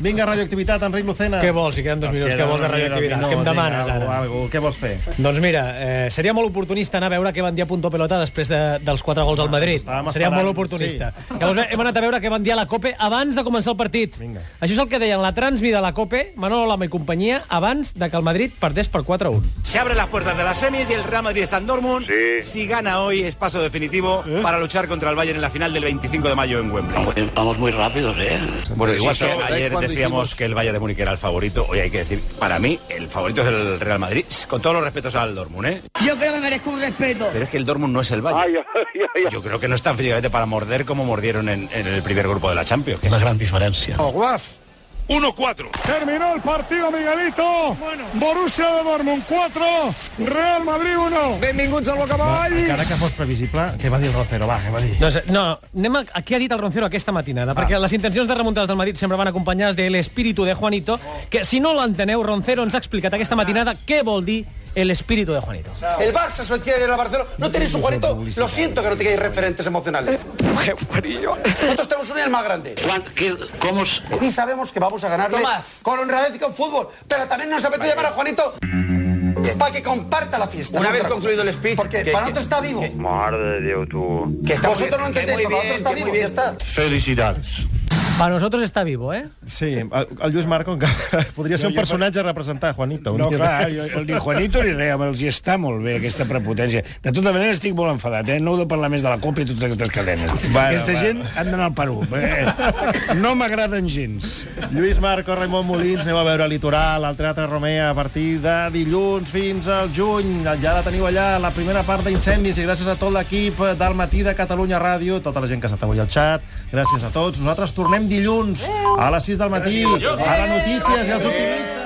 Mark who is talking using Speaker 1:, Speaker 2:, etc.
Speaker 1: Vinga, radioactivitat, Enric Lucena.
Speaker 2: Què vols? Si queden dos minuts. Què vols de radioactivitat? Què em demanes,
Speaker 1: Algo,
Speaker 2: ara?
Speaker 1: algo. Què vols fer?
Speaker 2: Doncs mira, eh, seria molt oportunista anar a veure què van dir a Punto Pelota després de, dels quatre gols al Madrid.
Speaker 1: estàvem
Speaker 2: Seria
Speaker 1: esperant,
Speaker 2: molt oportunista. Sí. Llavors bé, hem anat a veure què van dir a la COPE abans de començar el partit.
Speaker 1: Vinga.
Speaker 2: Això és el que deien la transmi de la COPE, Manolo Lama i companyia, abans de que el Madrid perdés per 4-1.
Speaker 3: Se abren las puertas de las semis y el Real Madrid está en Dortmund.
Speaker 4: Sí.
Speaker 3: Si gana hoy es paso definitivo para luchar contra el Bayern en la final del 25 de mayo en Wembley.
Speaker 5: Vamos muy rápidos, ¿eh?
Speaker 3: Bueno, igual que ayer decíamos que el Bayern de Múnich era el favorito, hoy hay que decir, para mí el favorito es el Real Madrid, con todos los respetos al Dortmund, ¿eh?
Speaker 6: Yo creo que merezco un respeto.
Speaker 3: Pero es que el Dortmund no es el Bayern.
Speaker 4: Ay, ay, ay, ay.
Speaker 3: Yo creo que no están físicamente para morder como mordieron en, en el primer grupo de la Champions.
Speaker 5: Una gran diferencia.
Speaker 4: 1-4.
Speaker 7: Terminó el partido, Miguelito. Borussia de Dortmund 4, Real Madrid 1.
Speaker 8: Benvinguts al Bocavoll!
Speaker 1: Encara que fos previsible, què va dir Rocero? Va, què va dir?
Speaker 2: Doncs, no, anem a, a què ha dit el Roncero aquesta
Speaker 1: Ah.
Speaker 2: matinada, perquè les intencions de remuntades del Madrid sempre van acompanyades de l'espíritu de Juanito, que si no l'enteneu, Roncero ens ha explicat aquesta matinada què vol dir l'espíritu de Juanito.
Speaker 1: Ah.
Speaker 8: El Barça es tiene la Barcelona. No tenéis un Juanito. Lo siento que no tengáis referentes emocionales. Nosotros tenemos un el más grande.
Speaker 5: ¿Cómo
Speaker 8: Y sabemos que vamos a ganarle
Speaker 2: Tomás.
Speaker 8: con honradez y con fútbol. Pero también nos apetece llamar a Juanito para que comparta la fiesta. Una vez concluido el speech. Porque para nosotros está vivo.
Speaker 4: Madre de Déu, tu.
Speaker 8: Vosotros no entendéis, para nosotros está vivo. Ya está.
Speaker 4: Felicidades.
Speaker 2: Per nosaltres està vivo, eh?
Speaker 1: Sí, el el Lluís Marco encara podria ser un personatge a representar, Juanito. un
Speaker 9: No,
Speaker 1: tio
Speaker 9: clar,
Speaker 1: d'aquests.
Speaker 9: jo, ni Juanito ni res, els hi està molt bé aquesta prepotència. De tota manera estic molt enfadat, eh? No heu de parlar més de la COPE i totes aquestes cadenes.
Speaker 1: Bueno,
Speaker 9: Aquesta
Speaker 1: bueno.
Speaker 9: gent han d'anar al Perú. Eh? No m'agraden gens.
Speaker 1: Lluís Marco, Raimon Molins, aneu a veure Litoral, al Teatre Romea, a partir de dilluns fins al juny. Ja la teniu allà, la primera part d'incendis, i gràcies a tot l'equip del matí de Catalunya Ràdio, tota la gent que ha estat avui al xat, gràcies a tots. Nosaltres tornem dilluns a les 6 del matí, a la notícies i als optimistes.